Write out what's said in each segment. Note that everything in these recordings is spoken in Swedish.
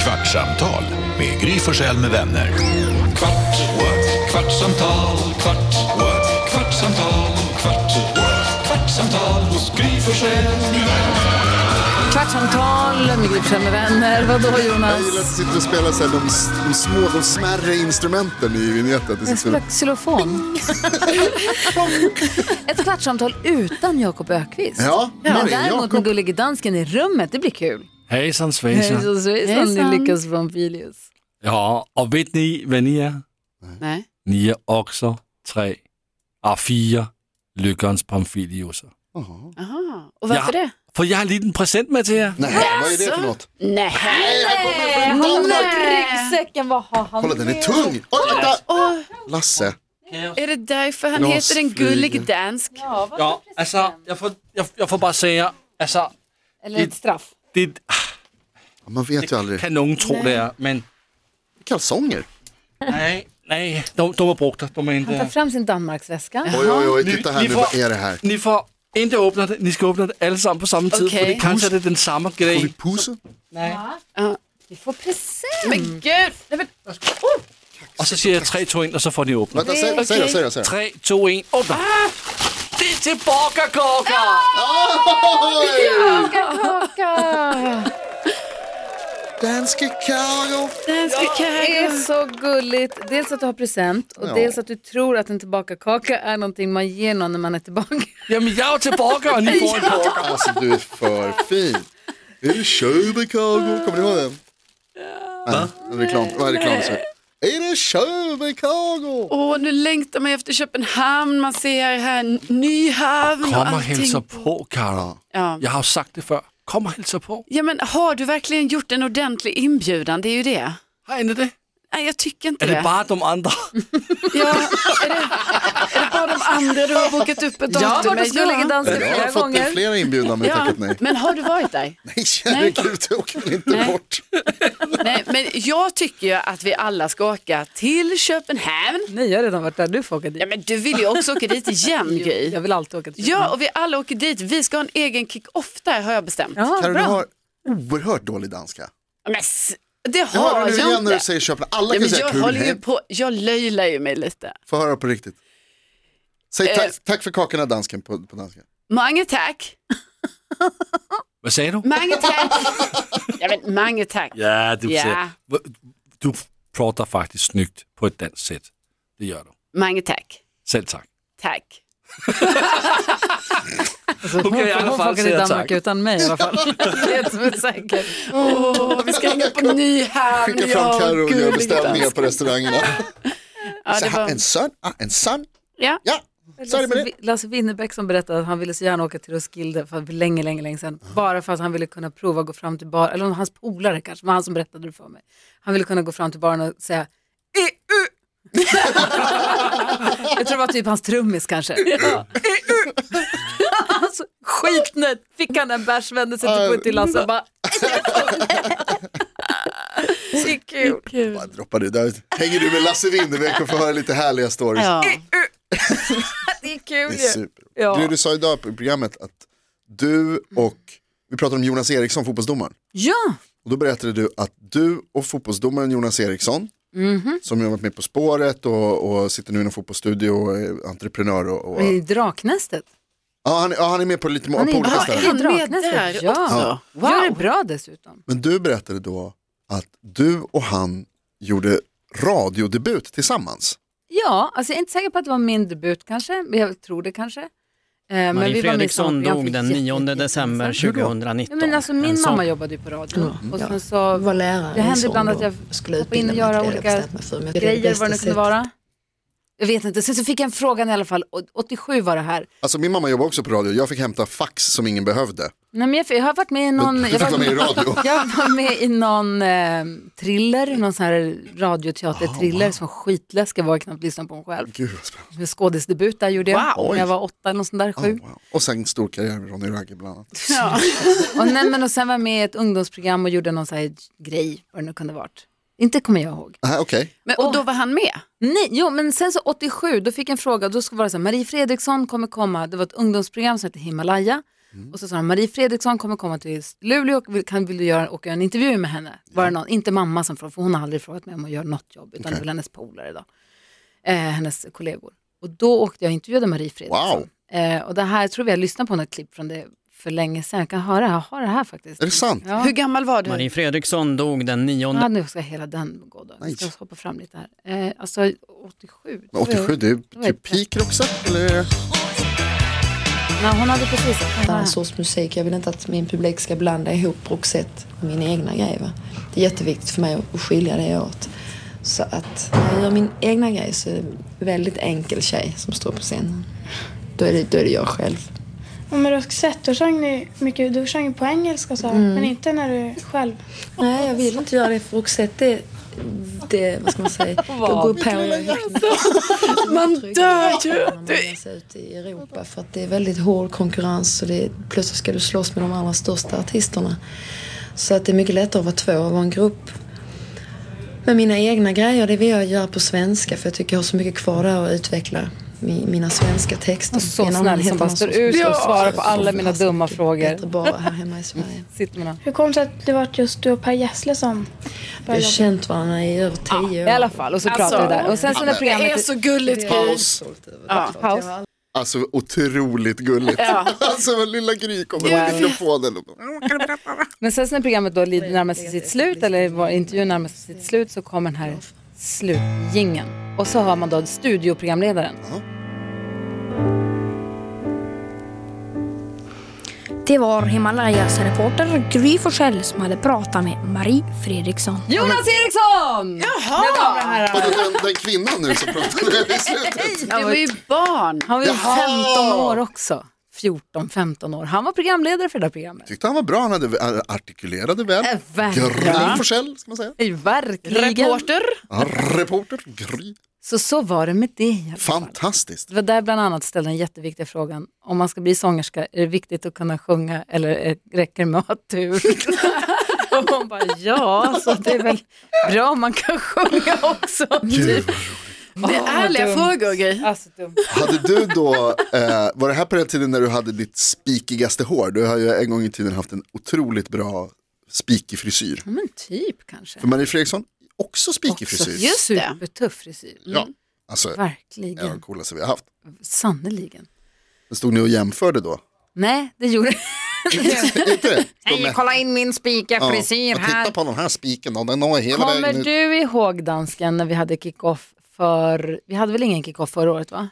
Kvartsamtal med Gry Forssell med vänner. Kvart, what? kvartsamtal, kvart, what? kvartsamtal, kvart, what? kvartsamtal hos Gry Forssell med vänner. Kvartsamtal med Gryfsjö med vänner. Vadå Jag gillar att Jonas? sitta och spela så här, de, de små, de smärre instrumenten i vignetten. Det Jag sitter- spelar xylofon. Ett kvartsamtal utan Jakob Ökvist. Ja, Men Marie, däremot med Jakob. gullige dansken i rummet, det blir kul. Hejsan svejsan. Så svejsan, ni lyckas från Filius. Ja, och vet ni vad ni är? Nej. Ni är också tre, ah, fyra lyckans pamfiliuser. Jaha. Aha. Och varför Ja. det? För jag har en liten present med till er. Nej, vad är det för något? Nej. Från Danmark. Ryggsäcken, vad har han? Kolla, den är tung! Oj, vänta! Åh, Lasse. är det därför han Glas heter en gullig flyger. dansk? Ja, alltså, jag får, jag, jag får bara säga, alltså, Eller ett straff. det Ah, Man vet ju aldrig. kan någon tro det är, men Kalsonger. nej, nej, de, de har brukt det, de är Han tar inte... fram sin Danmarksväska. Oj, oj, oj, titta här Ni- nu, ni vad får- är det här? Ni får inte öppna det, ni ska öppna det allesammans på samma tid, Okej. för det kanske är den samma Får vi grej. pusen? Vi får present. Men gud! Nej, men, Och så säger jag tre, två, en och så får ni öppna. Vänta, säg, säg då, säg då, säg då. Tre, två, en, öppna! Det är tillbaka kaka! Oj! Kaka. Danske Cargo. danska Det är kakor. så gulligt. Dels att du har present och Ja. dels att du tror att en tillbakakaka är någonting man ger någon när man är tillbaka. Jamen, jag är tillbaka och ni får en kaka. Alltså, du är för fin. Är det Köbe Cargo? Kommer ni ihåg den? Va? En reklam, vad är reklam? så? Är det Köbe Cargo? Åh, nu längtar man efter Köpenhamn, man ser här Nyhavn Kom och allting. hälsa på, Karo. Ja. Jag har sagt det förr. Kom och hälsa på. ja, men har du verkligen gjort en ordentlig inbjudan? Det är ju det. Har inte det? Nej, jag tycker inte Är det bara de andra? Ja, är, det, är det bara de andra du har bokat upp ett datum Jag har varit med? hos Gullige Dansken Jag har flera fått en gånger. flera inbjudan men Ja. tackat nej. Men har du varit där? Nej, herregud, jag åker väl inte bort. Nej, men jag tycker ju att vi alla ska åka till Köpenhamn. Nej, jag har redan varit där. Du får åka dit. Ja, men du vill ju också åka dit igen, Gry. Jag vill alltid åka till Ja, och vi alla åker dit. Vi ska ha en egen kick-off där, har jag bestämt. Ja, Carro, du bra. har oerhört dålig danska. Men s- det Jag har hör det nu jag igen när inte. du säger Köpenhamn. Alla Ja, kan men säga jag håller ju Kulhem. på, jag löjlar ju mig lite. Få höra på riktigt. Eh. Säg tack, tack för kakorna dansken på, på danska. Mange tack, Vad säger du? mange tack. ja, men mange tack. Ja, du Ja. säger. Du pratar faktiskt snyggt på ett danskt sätt. Det gör du. Mange tack, Själv tack. tack. Okej, okay, i alla Hon får fall åka till säger jag Danmark tack. utan mig i alla fall. Det är som är säkert. Åh, vi ska hänga på Nyhamn. Skicka ja, fram Carro och gör gulligt. beställningar på restaurangerna. Ja, Så det här, var... En son, ah, en son. Ja. Ja, så är det med Lasse, det. Vi- Lasse Winnerbäck som berättade att han ville så gärna åka till Roskilde för länge, länge, länge sedan. Bara för att han ville kunna prova att gå fram till baren, eller om hans polare kanske, men han som berättade det för mig. Han ville kunna gå fram till baren och säga EU! Jag tror det var typ hans trummis kanske. Ja. alltså, skitnöjd, fick han en bärs, vände sig typ till Putti Lasse och bara... Det är kul. Bara Mm. droppa det där. Hänger du med Lasse Winnerbäck och får höra lite härliga stories. Ja. Det är Det kul är ju. super. Ja. Du, du sa idag på programmet att du och, vi pratade om Jonas Eriksson, fotbollsdomaren. Ja, Och då berättade du att du och fotbollsdomaren Jonas Eriksson, Mhm. som ju har varit med På spåret och, och sitter nu i en fotbollsstudio och är entreprenör. Och, och, i Draknästet. ja, han, ja, han är med på lite på Mm. Han är- olika ja, ställen. är Han det är med Draknästet? där Ja. också. Wow. Gör det bra dessutom. Men du berättade då att du och han gjorde radiodebut tillsammans. Ja, alltså jag är inte säker på att det var min debut kanske, men jag tror det kanske. Eh, men Marie vi var med i Fredriksson sommarprogram dog för den 9 jättelänge december sedan. Hur då? 2019. Ja, men alltså En min sång. mamma jobbade ju på radio och sen så var lärare det hände i ibland att jag skulle hoppade in och utbilda mig göra till det, olika jag bestämde mig för, men det är det grejer, vad det nu bästa kunde sättet. vara. Jag vet inte, sen så fick jag en fråga i alla fall, och 87 var det här. Alltså min mamma jobbade också på radio, jag fick hämta fax som ingen behövde. Nej, men jag, jag har varit med i någon... Du Jag fick vara med i radio. Jag var med i någon eh, thriller, någon sån här radioteater-thriller som var skitläskig, jag var knappt lyssnad på mig själv. Gud vad spännande. Med Skådisdebut där gjorde jag, Wow. när jag var åtta eller något sånt där, sju. Oh, wow. Och sen stor karriär med Ronny Ragge bland annat. Ja. Och, nej, men och sen var jag med i ett ungdomsprogram och gjorde någon sån här grej, vad det nu kunde ha varit. Inte kommer jag ihåg. Ah, Okej, Men, och då var han med. Nej, jo, men sen så 87, då fick jag en fråga, då skulle det vara så här, Marie Fredriksson kommer komma, det var ett ungdomsprogram som hette Himalaya, Mm. Och så sa de, Marie Fredriksson kommer komma till Luleå, och vill- kan, vill du göra, och göra en intervju med henne? Var det någon, inte mamma som frågade, för hon har aldrig frågat mig om att göra något jobb, utan det var väl hennes polare då, eh, hennes kollegor. Och då åkte jag och intervjuade Marie Fredriksson. Eh, och det här, jag tror vi har lyssnat på något klipp från det för länge sedan, jag kan höra, jag har det här faktiskt. Är det sant? Ja. Hur gammal var du? Marie Fredriksson dog den 9 Ja, nu ska hela den gå då. Vi Nice. ska hoppa fram lite här. Eh, alltså 87. Men 87, det är var ju typ peak Roxette eller? Nej, hon hade precis... dansårsmusik. Jag vill inte att min publik ska blanda ihop Roxette och mina egna grejer. Va? Det är jätteviktigt för mig att skilja det åt. Så att när jag gör min egna grej så är det en väldigt enkel tjej som står på scenen. Då är det, då är det jag själv. Och med Roxette, då sjöng ni mycket du sjöng på engelska så, Mm. men inte när du själv. Nej, jag vill inte göra det för Roxette det, det, vad ska man säga, jag går på Man dör ju! När man ser ut i Europa för att det är väldigt hård konkurrens och det, plötsligt ska du slåss med de allra största artisterna. Så att det är mycket lättare att vara två och vara en grupp. Men mina egna grejer, det vill jag göra på svenska för jag tycker jag har så mycket kvar där att utveckla mi- mina svenska texter. Och så Innan snäll heter som bara man står så- ut och svarar på så alla mina fantastiskt dumma mycket frågor. Bättre bara här hemma i Sverige. Sitter med någon. Hur kom det sig att det var just du och Per Gessle som Vi har började jobba? känt varandra i över tio år. I alla fall, och så pratar vi där. Och sen så när Alltså, Det är programmet... så gulligt Gry. Paus. Ja. Paus. Alltså otroligt gulligt. Alltså vad lilla Gry kommer med mikrofonen. och bara, Men sen så när programmet då lider närmast sig sitt slut, eller var intervjun närmast sig sitt slut, så kommer den här slutjingeln. Och så har man då studioprogramledaren. Det var Himalayas reporter Gry Forssell som hade pratat med Marie Fredriksson. Jonas Eriksson! Jaha! Vadå, den, den kvinnan nu som pratade i slutet? Det var ju barn. Han var ju Jaha! 15 år också. 14-15 år. Han var programledare för det där programmet. Tyckte han var bra, han hade, han artikulerade väl. Äh, Gry verkligen. Forssell, ska man säga. Nej, Verkligen. Reporter. Ja, reporter Gry. Så så var det med det i alla fall. Fantastiskt. Det var där bland annat ställde den jätteviktiga frågan, om man ska bli sångerska, är det viktigt att kunna sjunga eller eh, räcker det med att ha tur? och hon bara, ja, så det är väl bra om man kan sjunga också. Typ. Det är ärliga dumt. frågor Gry. Alltså, dumt. Hade du då, eh, var det här på den tiden när du hade ditt spikigaste hår? Du har ju en gång i tiden haft en otroligt bra spikig frisyr. Ja, Men typ kanske. För Marie Fredriksson, också spikig frisyr. Just det. Supertuff frisyr. Ja, alltså en av de Verkligen, coolaste vi har haft. sannerligen. Men stod ni och jämförde då? Nej, det gjorde Inte det? Stod med- Kolla in min spika Ja, frisyr och här. Titta på den här spiken, då, den når hela vägen Kommer ut. du ihåg dansken när vi hade kick-off för, vi hade väl ingen kick-off förra året va?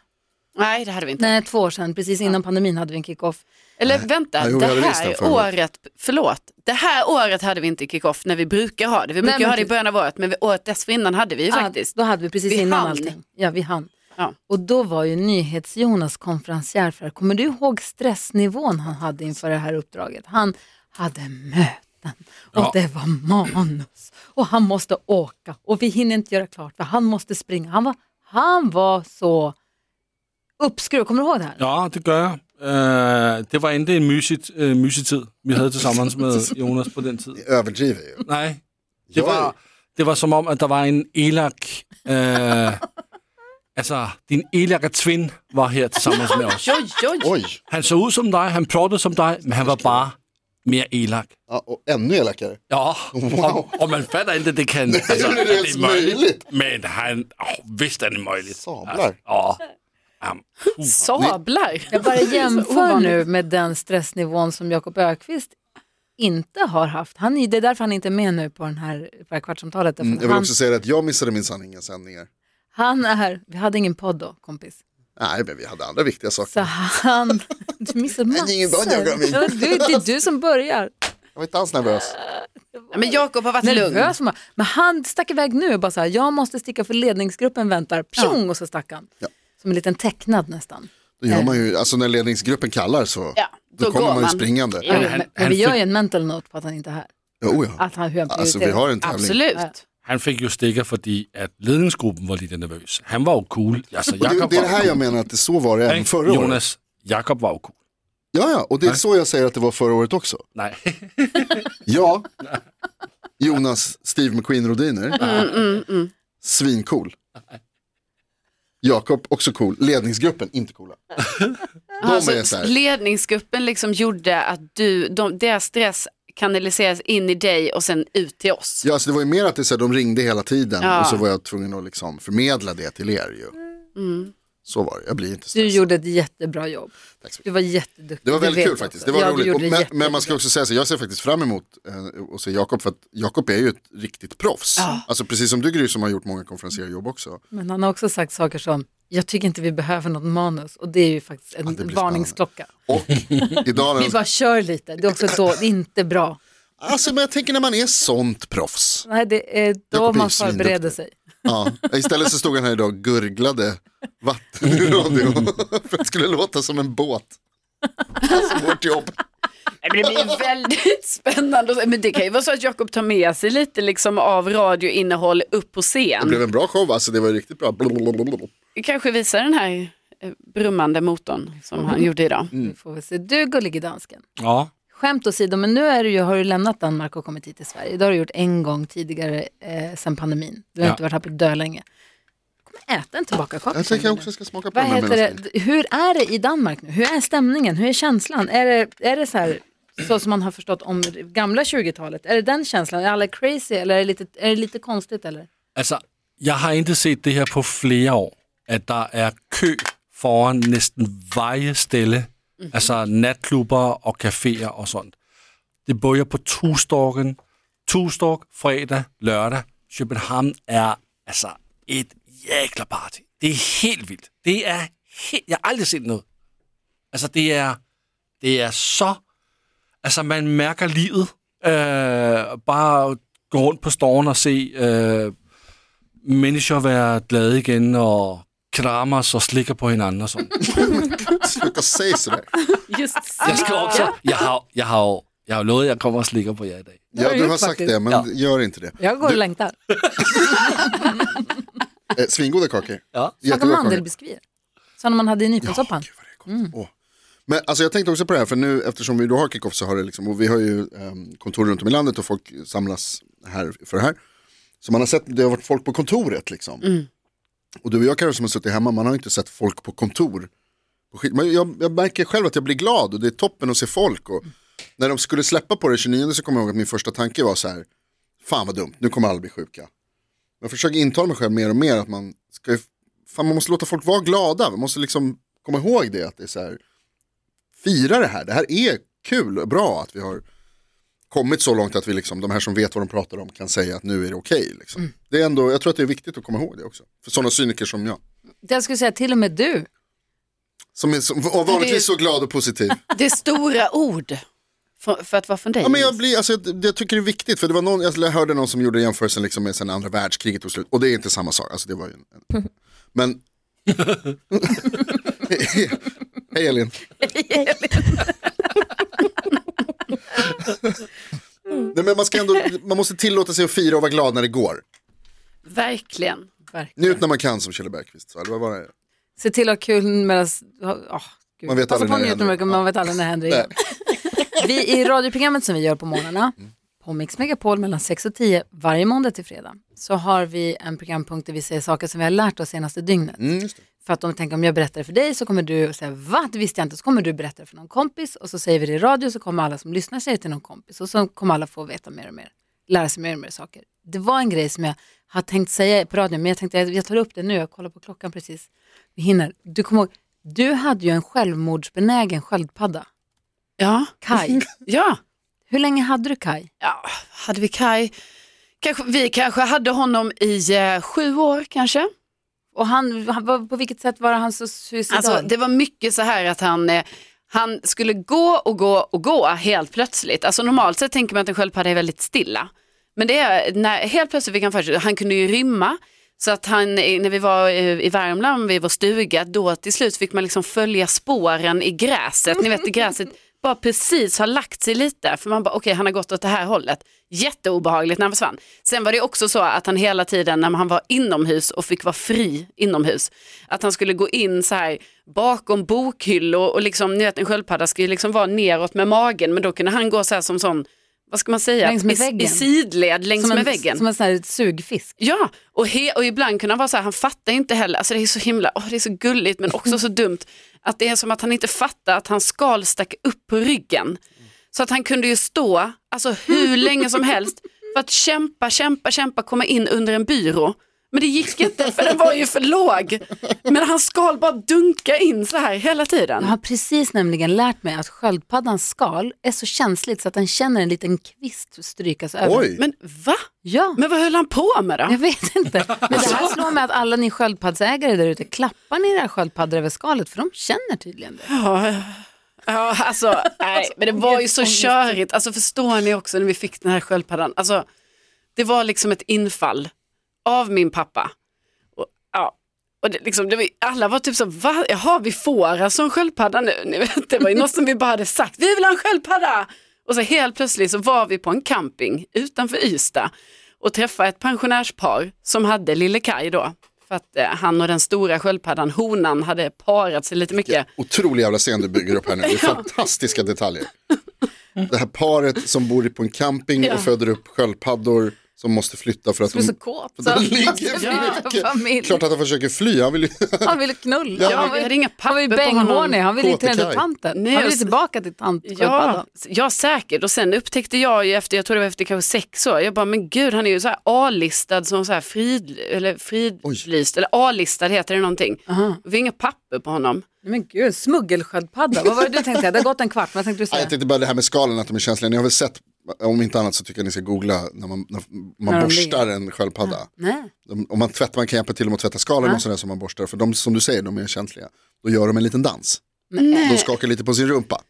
Nej, det hade vi inte. Nej, två år sedan, precis innan pandemin hade vi en kick-off. Eller vänta, Nej, jo, vi hade det visst den här förra året. året, förlåt, det här året hade vi inte kick-off när vi brukar ha det. Vi brukar men ha det i typ. början av året, men vi- året dessförinnan hade vi ju faktiskt. Då hade vi precis Vi innan hann. allting. Ja, vi hann. Ja. Och då var ju NyhetsJonas konferencier för Kommer du ihåg stressnivån han hade inför det här uppdraget? Han hade möten och Ja. det var manus och han måste åka och vi hinner inte göra klart för han måste springa. Han var, han var så uppskruvad. Kommer du ihåg det här? Ja, det gør jeg. Øh, det var ikke en myset, øh, mysetid, vi havde til sammen med Jonas på den tid. Överdriver ju. Nej, det Jag är- var, det var som om, at der var en elak... Øh, altså, din elake twin var her til sammen med os. Oj, oj, oj. Oj, Han så ud som dig, han plottede som dig, men han var bare mere elak. ja, och ännu elakare. Ja, og, og man fatter ikke, at det kan... Det är inte ens möjligt. Men han... Åh, visst er det möjligt. Sablar. åh, am, uh. Sablar. Jag bara jämför ovanligt. nu med den stressnivån som Jakob Ökvist inte har haft. Han, är- det är därför han inte är med nu på, den här, på det här kvartssamtalet. därför Mm, jag vill han, också säga att jag missade min sanninga sändningar. han är, vi hade ingen podd då kompis. Nej, men vi hade andra viktiga Så saker. han, du missar är ingen podd, jag kommer massor. in. Ja, du, det är du som börjar. Jag var inte alls nervös. Ja, Men Jakob har varit lugn. Nervös man. Men han stack iväg nu och bara så här, jag måste sticka för ledningsgruppen väntar. Pjong och så stack han. Ja. Som en liten tecknad nästan. Då gör man ju, alltså när ledningsgruppen kallar så Eh. Ja, då, då kommer går man ju man. springande. Ja. Men, han- men han vi gör fick- ju en mental note på att han inte är här. Jo, ja. Att han, hur han Alltså vi prioriterar. har en tävling. Absolut. Han fik jo stikker, fordi at ledningsgruppen var lidt nervøs. Han var jo cool. Altså, Och det, Jakob det är det var här cool, jag menar att det så var det även ikke? förra året. Jonas, Jakob var jo cool. Ja, ja, och det är så jag säger att det var förra året också. Nej. Ja, Jonas Steve McQueen Rodiner, Mm. svincool. Jakob också cool, ledningsgruppen inte coola. De är så här. Alltså, ledningsgruppen liksom gjorde att du, de, deras stress kanaliseras in i dig och sen ut till oss. Ja, så det var ju mer att det, så här, de ringde hela tiden Ja. och så var jag tvungen att liksom förmedla det till er ju. Mm. Så var det, jag blir inte Du stressad. gjorde ett jättebra jobb. Alltså. Tack så mycket. Du var jätteduktig. Det var Du väldigt vet kul också. faktiskt, det var ja, du roligt. gjorde Och, det men, jättebra. men man ska också säga så, jag ser faktiskt fram emot eh, att se Jakob för att Jakob är ju ett riktigt proffs. Alltså precis som du Gry som har gjort många konferencierjobb också. Men han har också sagt saker som, jag tycker inte vi behöver något manus. Och det är ju faktiskt en det blir varningsklocka. Och idag, Vi bara kör lite, det är också då, det är inte bra. alltså men jag tänker när man är sånt proffs. Nej, det är då Jakob är man ju svinduktig. förbereder sig. Ja. Istället så stod han här idag och gurglade vatten i radio för att det skulle låta som en båt. Alltså vårt jobb. Nej, men Det blir väldigt spännande. att se. Men det kan ju vara så att Jakob tar med sig lite liksom av radioinnehåll upp på Det scen. blev en bra show, alltså det var ju riktigt bra. Blablabla. Kanske visa den här eh, brummande motorn som han gjorde idag. Mm. Vi får väl se. Du gullig i dansken. Ja. Skämt åsido, men nu är du ju, har du lämnat Danmark och kommit hit till Sverige. Det har du gjort en gång tidigare eh, sen pandemin. Du har Ja. inte varit här på dö länge. kommer äta en tillbakakaka. Jag tänker jag också ska smaka på Vad den här heter medan- det? Hur är det i Danmark nu? Hur är stämningen? Hur är känslan? Är det, är det så här, så som man har förstått om det gamla 20-talet? Är det den känslan? Är alla crazy eller är det lite, är det lite konstigt? Eller? Altså, jeg har ikke set det her på flere år, at der er kø foran næsten veje stille, altså natklubber og caféer og sådan. Det bøjer på Tustorken. Tustork, fredag, lørdag. København er altså et jækla party. Det er helt vildt. Det er helt... Jeg har aldrig set noget. Altså, det er, det er så... Altså, man mærker livet. Øh, bare gå rundt på stormen og se øh, mennesker være glade igen og krammer og slikker på hinanden og sådan. Sluta säga sådär. Just Jeg skal også... Jeg har, jeg har, jo- jeg har jo lovet, at jeg kommer og slikker på jer i dag. har Ja, du du gjort har sagt faktiskt. det, men Ja. gör inte det. Jag går och längtar. Eh, svingoda kakor. Ja. Smaka Jättegoda kakor. mandelbiskvier. Sådana man hade i nyponsoppan. Gud, vad det är gott. Åh. Men alltså, jag tänkte också på det här, för nu eftersom vi då har kickoff så har det liksom, och vi har ju ehm, kontor runt om i landet och folk samlas här för det här. Så man har sett, det har varit folk på kontoret liksom. Och du och jag Karo som har suttit hemma, man har ju inte sett folk på kontor. På skit- Men jag, jag märker själv att jag blir glad och det är toppen att se folk. Och när de skulle släppa på det 29 så kommer jag ihåg att min första tanke var så här, fan vad dumt, nu kommer alla bli sjuka. Jag försöker intala mig själv mer och mer att man ska ju, fan man måste låta folk vara glada, man måste liksom komma ihåg det att det är så här, fira det här, det här är kul och bra att vi har kommit så långt att vi liksom, de här som vet vad de pratar om kan säga att nu är det okej. liksom. Det är ändå, jag tror att det är viktigt att komma ihåg det också, för sådana cyniker som jag. Det jag skulle säga, till och med du. Som är som, och vanligtvis så glad och positiv. Det är stora ord för, för att vara från dig. Ja, men jag, blir, alltså, jag, jag tycker det är viktigt, för det var någon, jag hörde någon som gjorde jämförelsen liksom med sen andra världskriget och slut, och det är inte samma sak. Alltså, det var ju en, en, men... Hej Elin. Nej, men man, ska ändå, man måste tillåta sig att fira och vara glad när det går. Verkligen. Verkligen. Njut när man kan som Kjell Bergqvist sa, eller vad var det? Se till att ha kul medan... åh, gud. Man vet Passa aldrig på när det att njuta händer. mycket, Man vet aldrig när det händer igen. Vi i radioprogrammet som vi gör på morgnarna, på Mix Megapol mellan 6 och 10 varje måndag till fredag, så har vi en programpunkt där vi säger saker som vi har lärt oss senaste dygnet. Mm, just det. För att om, tänk, om jag berättar det för dig så kommer du säga va, det visste jag inte. Så kommer du berätta det för någon kompis och så säger vi det i radio så kommer alla som lyssnar säga det till någon kompis och så kommer alla få veta mer och mer, lära sig mer och mer saker. Det var en grej som jag har tänkt säga på radion men jag tänkte jag jag tar upp det nu, jag kollar på klockan precis. Vi hinner. Du kommer ihåg, du hade ju en självmordsbenägen sköldpadda, Ja. Kai. ja. Hur länge hade du Kai? ja. Hade vi Kai, kanske, vi kanske hade honom i eh, sju år kanske. Och han, han var- på vilket sätt var han så suicidal? Alltså, det var mycket så här att han, eh, han skulle gå och gå och gå helt plötsligt. Alltså, normalt sett tänker man att en sköldpadda är väldigt stilla. Men det är när, helt plötsligt fick han för sig, han kunde ju rymma. Så att han, eh, när vi var eh, i Värmland vid vår stuga, då till slut fick man liksom följa spåren i gräset. Ni vet, i gräset bara precis har lagt sig lite. För man bara, okej, han har gått åt det här hållet. Jätteobehagligt när han försvann. Sen var det också så att han hela tiden när han var inomhus och fick vara fri inomhus, att han skulle gå in så här bakom bokhyllor och liksom, ni vet en sköldpadda ska ju liksom vara neråt med magen, men då kunde han gå så här som sån vad ska man säga, Längs med I, väggen. i sidled längs som med en, väggen. Som en sån här sugfisk. Ja, och, he, och ibland kunde han vara så här, han fattar inte heller, alltså det är så himla, åh det är så gulligt men också så dumt, att det är som att han inte fattar att hans skal stack upp på ryggen. Så att han kunde ju stå, alltså hur länge som helst, för att kämpa, kämpa, kämpa, komma in under en byrå. Men det gick inte för den var ju för låg. Men hans skal bara dunka in så här hela tiden. Jag har precis nämligen lärt mig att sköldpaddans skal är så känsligt så att den känner en liten kvist strykas över. Oj, Men va? Ja, Men vad höll han på med då? jag vet inte. Men det här slår mig att alla ni sköldpaddsägare där ute, klappar ni era sköldpaddor över skalet? För de känner tydligen det. Ja, alltså, nej, men det var ju så körigt. Alltså, förstår ni också när vi fick den här sköldpaddan? Alltså, det var liksom ett infall av min pappa. Och, ja, och det, liksom, det var, ju- alla var typ så, va? Jaha, vi får alltså en sköldpadda nu? Ni vet, det var ju något som vi bara hade sagt, vi vill ha en sköldpadda! Och så helt plötsligt så var vi på en camping utanför Ystad och träffade ett pensionärspar som hade lille Kaj då. För att eh, han och den stora sköldpaddan, honan, hade parat sig lite mycket. otrolig jävla scen du bygger upp här nu. Det är fantastiska detaljer. Det här paret som bor på en camping Ja. och föder upp sköldpaddor som måste flytta för att De är de, så kåta. de ligger Alltså, för vilken familj. mycket. Klart att han försöker fly, han vill ju... Han ville knulla. Ja, Ja, vi hade inga Han var ju papper på bänghårig, honom. han ville ju till den Kåtekaj. där tanten. Nej, Han ville och- tillbaka till tantsköldpaddan. Ja, ja, säkert. Och sen upptäckte jag ju efter, jag tror det var efter kanske sex år, jag bara, men gud, han är ju så här A-listad som så här frid, eller fridlyst, eller A-listad heter det någonting. Aha. Vi har inga papper på honom. Men gud, smuggelsköldpadda. Vad var det du tänkte? säga? Det har gått en kvart, vad tänkte du Nej, säga? jag tänkte bara det här med skalen, att de är känsliga. Ni har väl sett, om inte annat så tycker jag ni ska googla när man, när man När de borstar en sköldpadda. Nej. De, om man, tvättar, man kan hjälpa till med att tvätta skalen och sådär som man borstar. För de, som du säger, de är känsliga. Då gör de en liten dans. De skakar lite på sin rumpa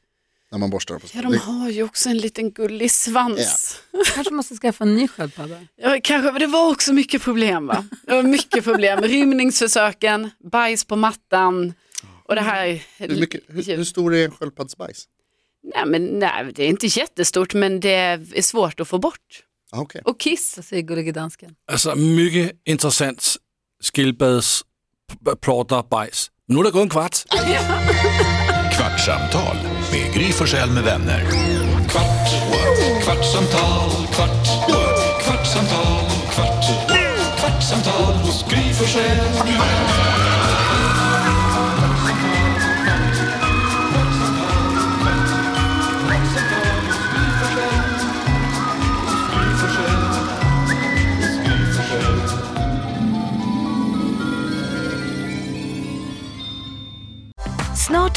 när man borstar. På Ja, de har ju också en liten gullig svans. Kanske måste skaffa en ny sköldpadda. Ja, kanske, men det var också mycket problem va? Det var mycket problem. Rymningsförsöken, bajs på mattan och det här. hur, mycket, hur, hur stor är en sköldpaddsbajs? Nej, men, nej, det är inte jättestort men det är svårt att få bort. Ah, okay. Och kiss. Vad säger gullige dansken? Altså, mygge, interessant, skildpaddes, plotter, bajs. Nu er der gået en kvart. Kvartsamtal med Gry Forssell med vänner. Kvart, what? kvartsamtal, kvart, what? kvartsamtal, kvart, what? kvartsamtal hos Gry Forssell med vänner. Snart